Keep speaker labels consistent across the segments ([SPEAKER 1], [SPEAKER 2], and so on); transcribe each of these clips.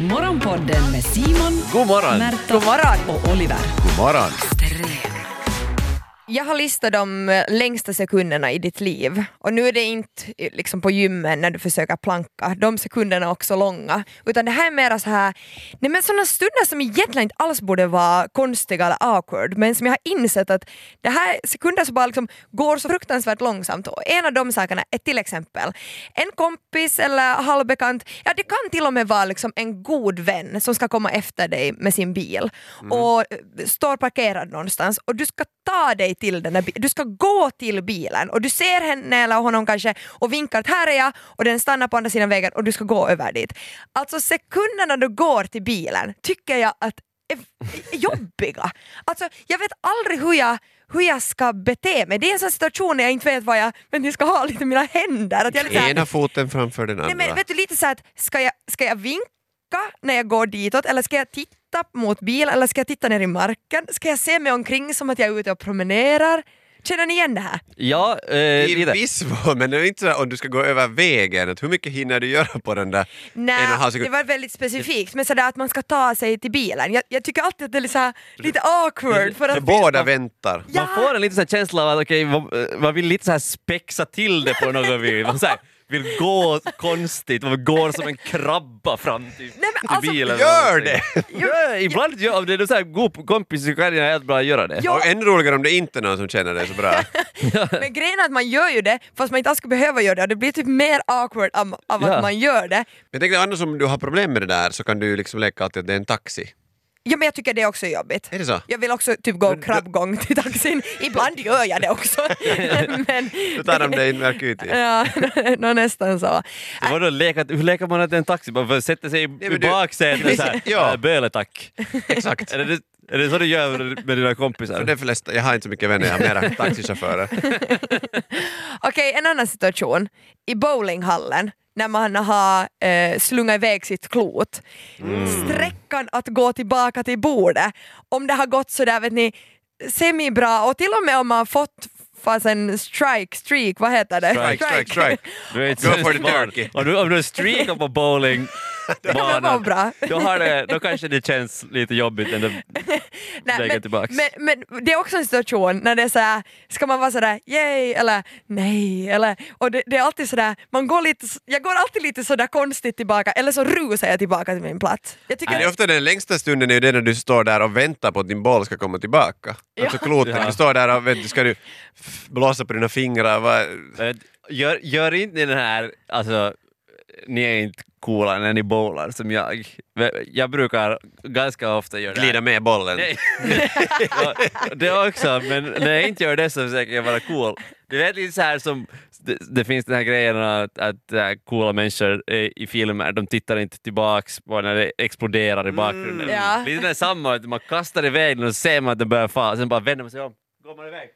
[SPEAKER 1] Morgonpodden med Simon,
[SPEAKER 2] God morgon!
[SPEAKER 1] Märta
[SPEAKER 3] God morgon.
[SPEAKER 1] och Oliver.
[SPEAKER 2] God morgon!
[SPEAKER 3] Jag har listat de eh, längsta sekunderna i ditt liv och nu är det inte eh, liksom på gymmen när du försöker planka, de sekunderna är också långa, utan det här är mera så här, nej men sådana stunder som egentligen inte alls borde vara konstiga eller awkward, men som jag har insett att det här är sekunder som bara liksom går så fruktansvärt långsamt och en av de sakerna är till exempel en kompis eller halvbekant, ja det kan till och med vara liksom en god vän som ska komma efter dig med sin bil och eh, står parkerad någonstans och du ska ta dig till den där bi- du ska gå till bilen och du ser henne eller honom kanske och vinkar att här är jag och den stannar på andra sidan vägen och du ska gå över dit. Alltså sekunderna du går till bilen tycker jag att är är jobbiga. Alltså, jag vet aldrig hur jag, hur jag ska bete mig. Det är en sån situation där jag inte vet vad jag, men jag ska ha lite i mina händer. Att jag är lite så här,
[SPEAKER 2] Ena foten framför den andra.
[SPEAKER 3] Nej, men, vet du, lite så här att ska jag, ska jag vinka när jag går ditåt eller ska jag titta mot bilen eller ska jag titta ner i marken? Ska jag se mig omkring som att jag är ute och promenerar? Känner ni igen det här?
[SPEAKER 4] Ja, eh,
[SPEAKER 2] I
[SPEAKER 4] lite.
[SPEAKER 2] viss mån, men det är inte så här om du ska gå över vägen, att hur mycket hinner du göra på den där en och en halv
[SPEAKER 3] Nej, det
[SPEAKER 2] sekund?
[SPEAKER 3] var väldigt specifikt, men sådär att man ska ta sig till bilen. Jag, jag tycker alltid att det är så här, lite awkward. För
[SPEAKER 2] När
[SPEAKER 3] att,
[SPEAKER 2] båda väntar.
[SPEAKER 3] Ja.
[SPEAKER 4] Man får en liten så här känsla av att okej, man, man vill lite så här spexa till det på något vis. Man så här, vill gå konstigt, man går som en krabba fram till,
[SPEAKER 3] men
[SPEAKER 4] till
[SPEAKER 3] alltså,
[SPEAKER 4] bilen.
[SPEAKER 2] Gör det!
[SPEAKER 4] Ja, ibland gör, om det är en så här god kompis så kan det vara helt bra att göra det.
[SPEAKER 3] Ja.
[SPEAKER 2] Och ännu roligare om det inte är någon som känner dig så bra.
[SPEAKER 3] Men grejen är att man gör ju det fast man inte alls skulle behöva göra det och det blir typ mer awkward av, av
[SPEAKER 4] Ja.
[SPEAKER 3] att man gör det.
[SPEAKER 2] Jag tänkte annars om du har problem med det där så kan du ju liksom leka alltid att det är en taxi.
[SPEAKER 3] Ja men jag tycker det också är jobbigt.
[SPEAKER 2] Är det så?
[SPEAKER 3] Jag vill också typ gå krabbgång till taxin. Ibland gör jag det också. men,
[SPEAKER 2] Då tar de dig in verktyg.
[SPEAKER 3] Ja, nå, nästan så.
[SPEAKER 4] Det var då leka, hur lekar man att det är en taxi? Man får sätta sig i,
[SPEAKER 2] men
[SPEAKER 4] i
[SPEAKER 2] du-
[SPEAKER 4] baksätet såhär,
[SPEAKER 2] Ja.
[SPEAKER 4] ja. böle tack.
[SPEAKER 2] Exakt.
[SPEAKER 4] Är det, är det så du gör med dina kompisar?
[SPEAKER 2] För de flesta, jag har inte så mycket vänner, jag har mera taxichaufförer.
[SPEAKER 3] Okej, en annan situation. I bowlinghallen när man har eh, slungat iväg sitt klot.
[SPEAKER 2] Mm.
[SPEAKER 3] Sträckan att gå tillbaka till bordet, om det har gått sådär vet ni, semibra och till och med om man har fått fast en strike, streak, vad heter det?
[SPEAKER 2] Strike, strike, strike.
[SPEAKER 4] Du är inte
[SPEAKER 2] Go
[SPEAKER 4] så
[SPEAKER 2] for the
[SPEAKER 4] smart.
[SPEAKER 2] turkey.
[SPEAKER 4] Om du, om du streakar på bowling
[SPEAKER 3] kan vara bra.
[SPEAKER 4] Då, har det, då kanske det känns lite jobbigt ändå. Eh,
[SPEAKER 3] Nej,
[SPEAKER 4] Vägen
[SPEAKER 3] men,
[SPEAKER 4] tillbaks.
[SPEAKER 3] Men, men det är också en situation när det är såhär, ska man vara sådär yay eller nej eller och det, det är alltid sådär, man går lite, jag går alltid lite sådär konstigt tillbaka eller så rusar jag tillbaka till min plats. Jag tycker
[SPEAKER 2] Men det är ofta den längsta stunden är ju den när du står där och väntar på att din boll ska komma tillbaka. Alltså klotet,
[SPEAKER 4] Ja.
[SPEAKER 2] du står där och vet, du ska du f- blåsa på dina fingrar. Vad...
[SPEAKER 4] Eh, Gör, gör inte den här, alltså, ni är inte coola när ni bowlar som jag. Jag brukar ganska ofta göra det. här.
[SPEAKER 2] Glida med bollen.
[SPEAKER 4] Nej. Ja, det också, men när jag inte gör det så försöker jag vara cool. Du vet lite så här som, det, det finns den här grejen att, att äh, coola människor eh, i filmer, de tittar inte tillbaks på när det exploderar i bakgrunden.
[SPEAKER 3] Ja.
[SPEAKER 4] Lite det samma, att man kastar iväg den och så ser man att den börjar falla, sen bara vänder man sig om. Går man iväg.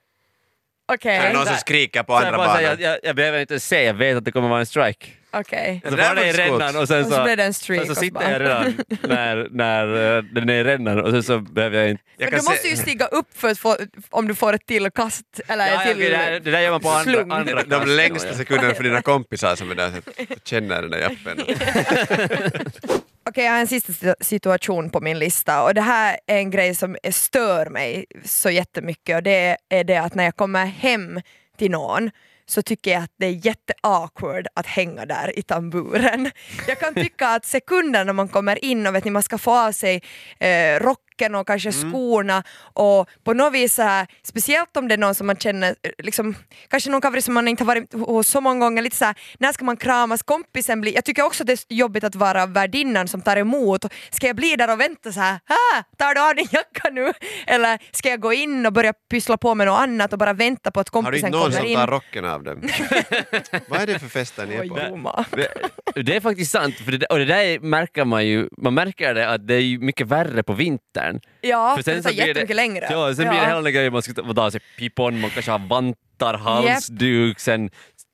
[SPEAKER 2] Är det
[SPEAKER 3] okej,
[SPEAKER 2] någon som
[SPEAKER 4] Nej.
[SPEAKER 2] skriker på
[SPEAKER 4] Så jag
[SPEAKER 2] andra
[SPEAKER 4] bara säger,
[SPEAKER 2] banan?
[SPEAKER 4] jag, jag, jag behöver inte se, jag vet att det kommer vara en strike.
[SPEAKER 3] okej.
[SPEAKER 2] Det
[SPEAKER 4] Och Så
[SPEAKER 2] där
[SPEAKER 4] var
[SPEAKER 2] var
[SPEAKER 4] det i
[SPEAKER 2] ett skott.
[SPEAKER 4] rännan och sen
[SPEAKER 3] Och så
[SPEAKER 4] så,
[SPEAKER 3] blev det en streak.
[SPEAKER 4] sen så
[SPEAKER 3] och
[SPEAKER 4] Alltså, sitter
[SPEAKER 3] bara-
[SPEAKER 4] jag redan när, när eh, den är i rännan och sen så behöver jag inte...
[SPEAKER 2] Jag
[SPEAKER 3] Men du
[SPEAKER 2] kan
[SPEAKER 3] måste
[SPEAKER 2] se-
[SPEAKER 3] ju stiga upp för att få, om du får ett till kast eller
[SPEAKER 4] Ja,
[SPEAKER 3] ett
[SPEAKER 4] ja,
[SPEAKER 3] till...
[SPEAKER 4] okej, det, där, det där gör man på andra,
[SPEAKER 3] slung.
[SPEAKER 4] andra
[SPEAKER 2] De
[SPEAKER 4] klass.
[SPEAKER 2] längsta sekunderna för dina kompisar som är där, så att du känner den där jappen.
[SPEAKER 3] Okej, jag har en sista situ- situation på min lista och det här är en grej som är- stör mig så jättemycket och det är det att när jag kommer hem till någon så tycker jag att det är jätteawkward att hänga där i tamburen. Jag kan tycka att sekunden när man kommer in och vet ni, man ska få av sig eh, rocken och kanske
[SPEAKER 2] Mm.
[SPEAKER 3] skorna och på något vis så här, speciellt om det är någon som man känner, eh, liksom, kanske någon kaveri som man inte har varit hos så många gånger, lite så här, när ska man kramas, kompisen blir, jag tycker också att det är jobbigt att vara värdinnan som tar emot, ska jag bli där och vänta så här, ah, tar du av din jacka nu? Eller ska jag gå in och börja pyssla på med något annat och bara vänta på att
[SPEAKER 2] Har du inte
[SPEAKER 3] kompisen
[SPEAKER 2] någon
[SPEAKER 3] kommer
[SPEAKER 2] som
[SPEAKER 3] in?
[SPEAKER 2] tar rocken av dem? Vad är det för fester ni är
[SPEAKER 3] Oj,
[SPEAKER 2] på?
[SPEAKER 3] Joma.
[SPEAKER 4] Det- Det är faktiskt sant, för det, där- och det där märker man ju, man märker det att det är ju mycket värre på vintern.
[SPEAKER 3] Ja,
[SPEAKER 4] För
[SPEAKER 3] för det tar
[SPEAKER 4] så blir
[SPEAKER 3] jättemycket längre.
[SPEAKER 4] Ja, sen blir det hela den grejen, man ska ta- man tar av sig pipon, man kanske har vantar, halsduk, sen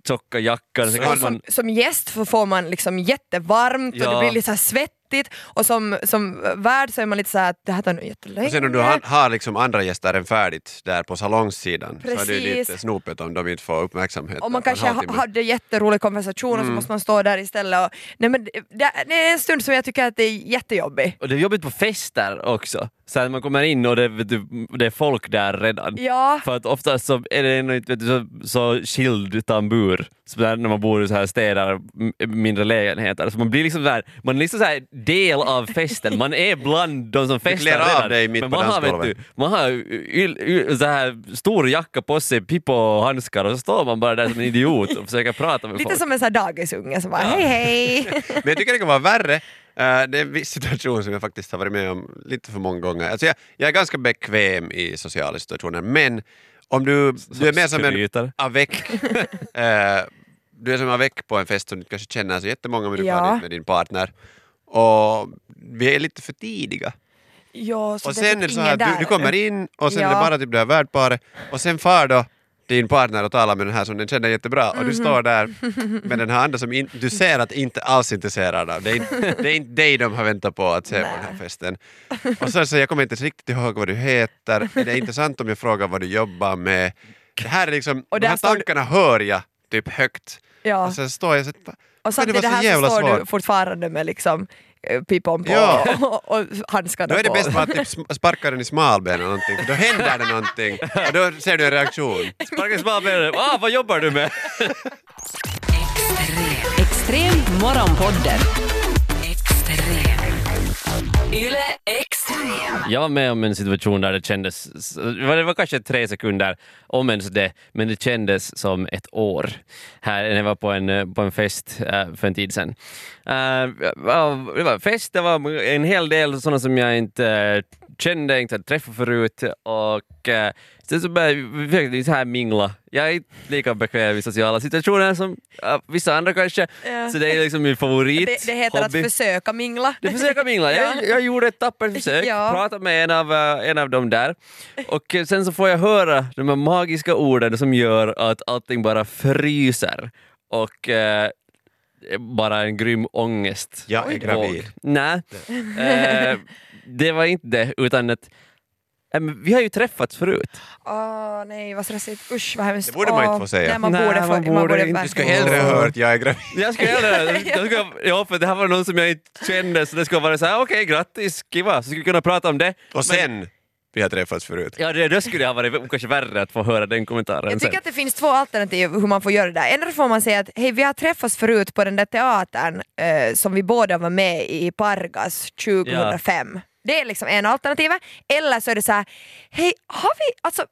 [SPEAKER 4] tjocka jackor. Sen
[SPEAKER 2] Så-
[SPEAKER 4] kanske
[SPEAKER 3] som,
[SPEAKER 4] man,
[SPEAKER 3] som gäst får- får man liksom jättevarmt och
[SPEAKER 4] Ja.
[SPEAKER 3] det blir lite så här svettigt vettigt och som, som värd så är man lite såhär att det här tar nog jättelänge.
[SPEAKER 2] Och sen om du har, har liksom andra gäster än färdigt där på salongssidan så är det ju
[SPEAKER 3] Precis.
[SPEAKER 2] lite snopet om de inte får uppmärksamhet.
[SPEAKER 3] och
[SPEAKER 2] på
[SPEAKER 3] man
[SPEAKER 2] en
[SPEAKER 3] kanske ha,
[SPEAKER 2] halvtimme. Mm.
[SPEAKER 3] hade jätterolig konversation och så måste man stå där istället. Och, nej men det, det är en stund som jag tycker att det är jättejobbig.
[SPEAKER 4] Och det är jobbigt på fester också. Så att man kommer in och det, vet du, det är folk där redan.
[SPEAKER 3] Ja,
[SPEAKER 4] För att oftast så är det ändå inte vet du, så, så skild tambur så där, när man bor i så här städer, m- mindre lägenheter. Så man blir liksom, så här, man är liksom så här del av festen, man är bland de som festar
[SPEAKER 2] klär av
[SPEAKER 4] redan.
[SPEAKER 2] dig mitt
[SPEAKER 4] Men
[SPEAKER 2] på
[SPEAKER 4] man har,
[SPEAKER 2] dansgolvet.
[SPEAKER 4] vet du, man har yl, yl, så här, stor jacka på sig, pipa och handskar och så står man bara där som en idiot och försöker prata med
[SPEAKER 3] lite
[SPEAKER 4] folk.
[SPEAKER 3] som en sån här dagisunge som bara hej hej.
[SPEAKER 2] Men jag tycker det kan vara värre. Eh, det är en viss situation som jag faktiskt har varit med om lite för många gånger. Alltså jag, jag är ganska bekväm i sociala situationer, men om du, du är mer som en
[SPEAKER 4] skrytare.
[SPEAKER 2] avec. eh, du är som en avec på en fest som du kanske känner så jättemånga, men du
[SPEAKER 3] Ja.
[SPEAKER 2] kan inte med din partner. Och vi är lite för tidiga.
[SPEAKER 3] ja, så
[SPEAKER 2] och
[SPEAKER 3] det
[SPEAKER 2] sen
[SPEAKER 3] typ
[SPEAKER 2] är det så
[SPEAKER 3] ingen
[SPEAKER 2] här, du,
[SPEAKER 3] där.
[SPEAKER 2] du kommer in och sen
[SPEAKER 3] Ja.
[SPEAKER 2] är det bara typ det här värdparet och sen far då din partner och talar med den här som den känner jättebra och
[SPEAKER 3] Mhm.
[SPEAKER 2] du står där med den här andra som in, du ser att inte alls är intresserad av. Det är inte, det är inte dig de har väntat på att se på den här festen. Och så, så jag kommer inte riktigt ihåg vad du heter, är det intressant om jag frågar vad du jobbar med? Det här är liksom,
[SPEAKER 3] Och
[SPEAKER 2] de
[SPEAKER 3] där
[SPEAKER 2] här
[SPEAKER 3] står du-
[SPEAKER 2] tankarna hör jag typ högt.
[SPEAKER 3] Ja.
[SPEAKER 2] Och sen står jag så här,
[SPEAKER 3] Och
[SPEAKER 2] Alltså, "Men
[SPEAKER 3] samtidigt det här så står du fortfarande med liksom eh, pipan på
[SPEAKER 2] Ja.
[SPEAKER 3] och, och handskarna
[SPEAKER 2] Då är det
[SPEAKER 3] på.
[SPEAKER 2] bäst att typ sm- sparka den i smalben eller någonting, för då händer det någonting och då ser du en reaktion.
[SPEAKER 4] Sparkas bara med det. ah, vad jobbar du med?
[SPEAKER 1] Extrem. Extrem morgonpodden. Extrem. Yle Extrem.
[SPEAKER 4] Jag var med om en situation där det kändes, det var kanske tre sekunder, om ens det, men det kändes som ett år. Här när jag var på en, eh, på en fest eh, för en tid sedan. Eh, ja, det var en fest, det var en hel del sådana som jag inte eh, kände, inte hade träffat förut och eh, sen så började vi verkligen så här mingla. Jag är inte lika bekväm i sociala situationer som eh, vissa andra kanske,
[SPEAKER 3] Ja.
[SPEAKER 4] så det är liksom min favorit.
[SPEAKER 3] det, det heter
[SPEAKER 4] hobby.
[SPEAKER 3] att försöka mingla.
[SPEAKER 4] Du försöker mingla.
[SPEAKER 3] Ja.
[SPEAKER 4] Jag, jag gjorde ett tappert försök,
[SPEAKER 3] Ja.
[SPEAKER 4] pratade med en av, eh, en av dem där. Och eh, sen så får jag höra de här magiska orden som gör att allting bara fryser. Och eh, bara en grym ångest.
[SPEAKER 2] Jag är gravid.
[SPEAKER 4] Nej, eh, det var inte det. Utan att, eh, men vi har ju träffats förut.
[SPEAKER 3] Åh nej vad stressigt, usch vad hemskt.
[SPEAKER 2] Det borde man
[SPEAKER 3] Åh,
[SPEAKER 2] inte få säga.
[SPEAKER 3] Nej, man
[SPEAKER 4] Nej,
[SPEAKER 3] borde, få, man
[SPEAKER 4] man
[SPEAKER 3] borde,
[SPEAKER 4] borde inte.
[SPEAKER 2] Du ska
[SPEAKER 3] verkligen-
[SPEAKER 2] hellre höra att jag är gravid.
[SPEAKER 4] Jag skulle göra det. Jag skulle, ja, för det här var någon som jag inte kände så det skulle vara så här, okej grattis, kiva, så skulle vi kunna prata om det.
[SPEAKER 2] Och sen, vi har träffats förut.
[SPEAKER 4] Ja, det, det skulle ha varit kanske värre att få höra den kommentaren
[SPEAKER 3] Jag
[SPEAKER 4] sen.
[SPEAKER 3] tycker att det finns två alternativ hur man får göra det där. Ändå får man säga att hej vi har träffats förut på den där teatern eh, som vi båda var med i i Pargas 2005. Det är liksom en alternativ. Eller så är det så här, hej har vi, alltså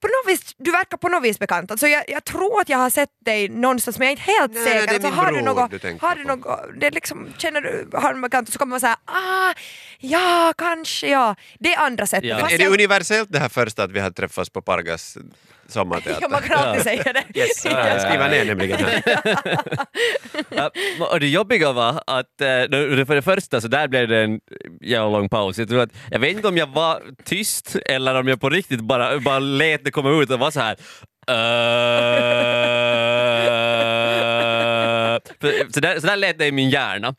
[SPEAKER 3] på något vis, du verkar på något vis bekant. Alltså jag, jag tror att jag har sett dig någonstans men jag är inte helt
[SPEAKER 2] Nej,
[SPEAKER 3] säker.
[SPEAKER 2] det är
[SPEAKER 3] alltså,
[SPEAKER 2] min
[SPEAKER 3] har
[SPEAKER 2] bror
[SPEAKER 3] du något,
[SPEAKER 2] du tänker
[SPEAKER 3] har du
[SPEAKER 2] på.
[SPEAKER 3] något, det är liksom, känner du, har du en bekant? Och så kommer man säga ah, ja kanske ja. Det är andra sättet.
[SPEAKER 4] Ja.
[SPEAKER 3] Fast
[SPEAKER 2] Är det
[SPEAKER 3] jag-
[SPEAKER 2] universellt det här första att vi har träffats på Pargas
[SPEAKER 3] Ja, man
[SPEAKER 2] sommarteater?
[SPEAKER 3] kan alltid säga det.
[SPEAKER 2] Yes, jag skriver ner nämligen här.
[SPEAKER 4] Ja, och det jobbiga var att eh, det- för det första så där blev det en jävla lång paus. Jag, tror att, jag vet inte om jag var tyst eller om jag på riktigt bara, bara lät det komma ut och var så här. "Äh." "Eh." För- så, där, så där lät det i min hjärna.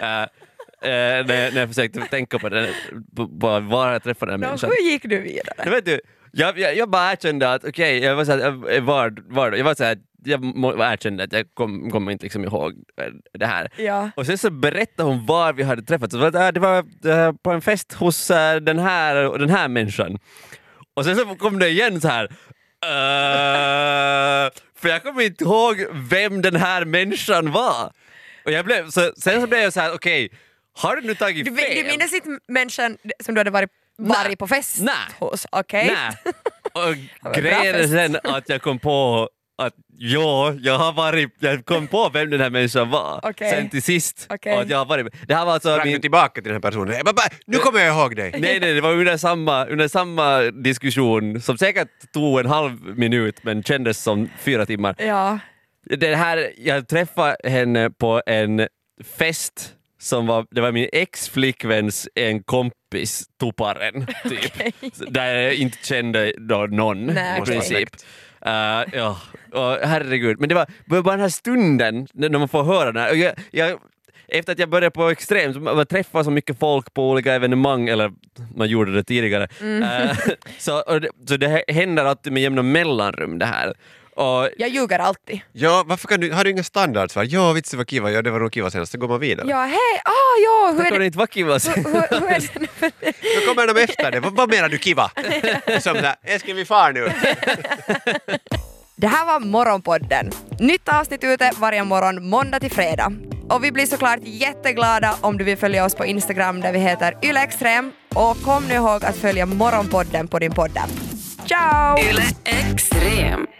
[SPEAKER 4] Eh, eh, när, jag, när jag försökte tänka på, den, på, på var jag träffade den här
[SPEAKER 3] Nå,
[SPEAKER 4] människan.
[SPEAKER 3] hur gick du vidare?
[SPEAKER 4] Men vet du, jag, jag, jag bara erkände att okej, jag var såhär, jag, var, var, jag var såhär, jag må- erkände att jag kom- kommer inte liksom ihåg eh, det här.
[SPEAKER 3] Ja.
[SPEAKER 4] Och sen så berättade hon var vi hade träffats. Och Det var, det var eh, på en fest hos eh, den här och den här människan. Och sen så kom det igen så här. eh, för jag kommer inte ihåg vem den här människan var. Och jag blev, så, sen så blev jag så här: okej, har du nu tagit
[SPEAKER 3] Du,
[SPEAKER 4] fel?
[SPEAKER 3] du minns inte människan som du hade varit, varit på fest
[SPEAKER 4] Nej.
[SPEAKER 3] hos? Okej.
[SPEAKER 4] Nej. Och
[SPEAKER 3] bra
[SPEAKER 4] grejen är
[SPEAKER 3] fest.
[SPEAKER 4] sen att jag kom på att ja, jag har varit, jag kom på vem den här människan var
[SPEAKER 3] Okej.
[SPEAKER 4] sen till sist.
[SPEAKER 3] Okej.
[SPEAKER 4] Och att jag har varit, det här var alltså
[SPEAKER 2] Sprang du
[SPEAKER 4] min,
[SPEAKER 2] tillbaka till den här personen? Jag bara, bara, nu kommer jag ihåg dig!
[SPEAKER 4] nej, nej, det var under samma, under samma diskussion som säkert tog en halv minut men kändes som fyra timmar.
[SPEAKER 3] Ja.
[SPEAKER 4] Det här, jag träffade henne på en fest som var, det var min ex-flickväns en kompis, Tuparen, typ. Så Där jag inte kände då någon
[SPEAKER 3] Nej,
[SPEAKER 4] i
[SPEAKER 3] okej.
[SPEAKER 4] princip. Eh, ja, och herregud. Men det var, det var bara den här stunden när när man får höra det här. Och jag, jag, efter att jag började på extremt, så man träffade så mycket folk på olika evenemang, eller man gjorde det tidigare,
[SPEAKER 3] Mm.
[SPEAKER 4] Eh, så, och det, så det här händer alltid med jämna mellanrum det här. Och
[SPEAKER 3] Jag ljuger alltid.
[SPEAKER 2] Ja, varför kan du, har du inga standardsvar? Ja, vitsen var kiva, ja det var nog kiva senast, så går man vidare.
[SPEAKER 3] Ja, hej, ah ja, hur
[SPEAKER 4] Tack
[SPEAKER 3] är
[SPEAKER 4] vare
[SPEAKER 3] det?
[SPEAKER 4] inte vad Kim var
[SPEAKER 3] Hur, hur är det? nu för-
[SPEAKER 2] Då kommer de efter det. Vad, vad menar du kiva? Som där, älskling vi far nu.
[SPEAKER 3] Det här var Morgonpodden. Nytt avsnitt ute varje morgon måndag till fredag. Och vi blir såklart jätteglada om du vill följa oss på Instagram där vi heter ylextrem. Och kom nu ihåg att följa Morgonpodden på din podd. Ciao!
[SPEAKER 1] Yle Extrem.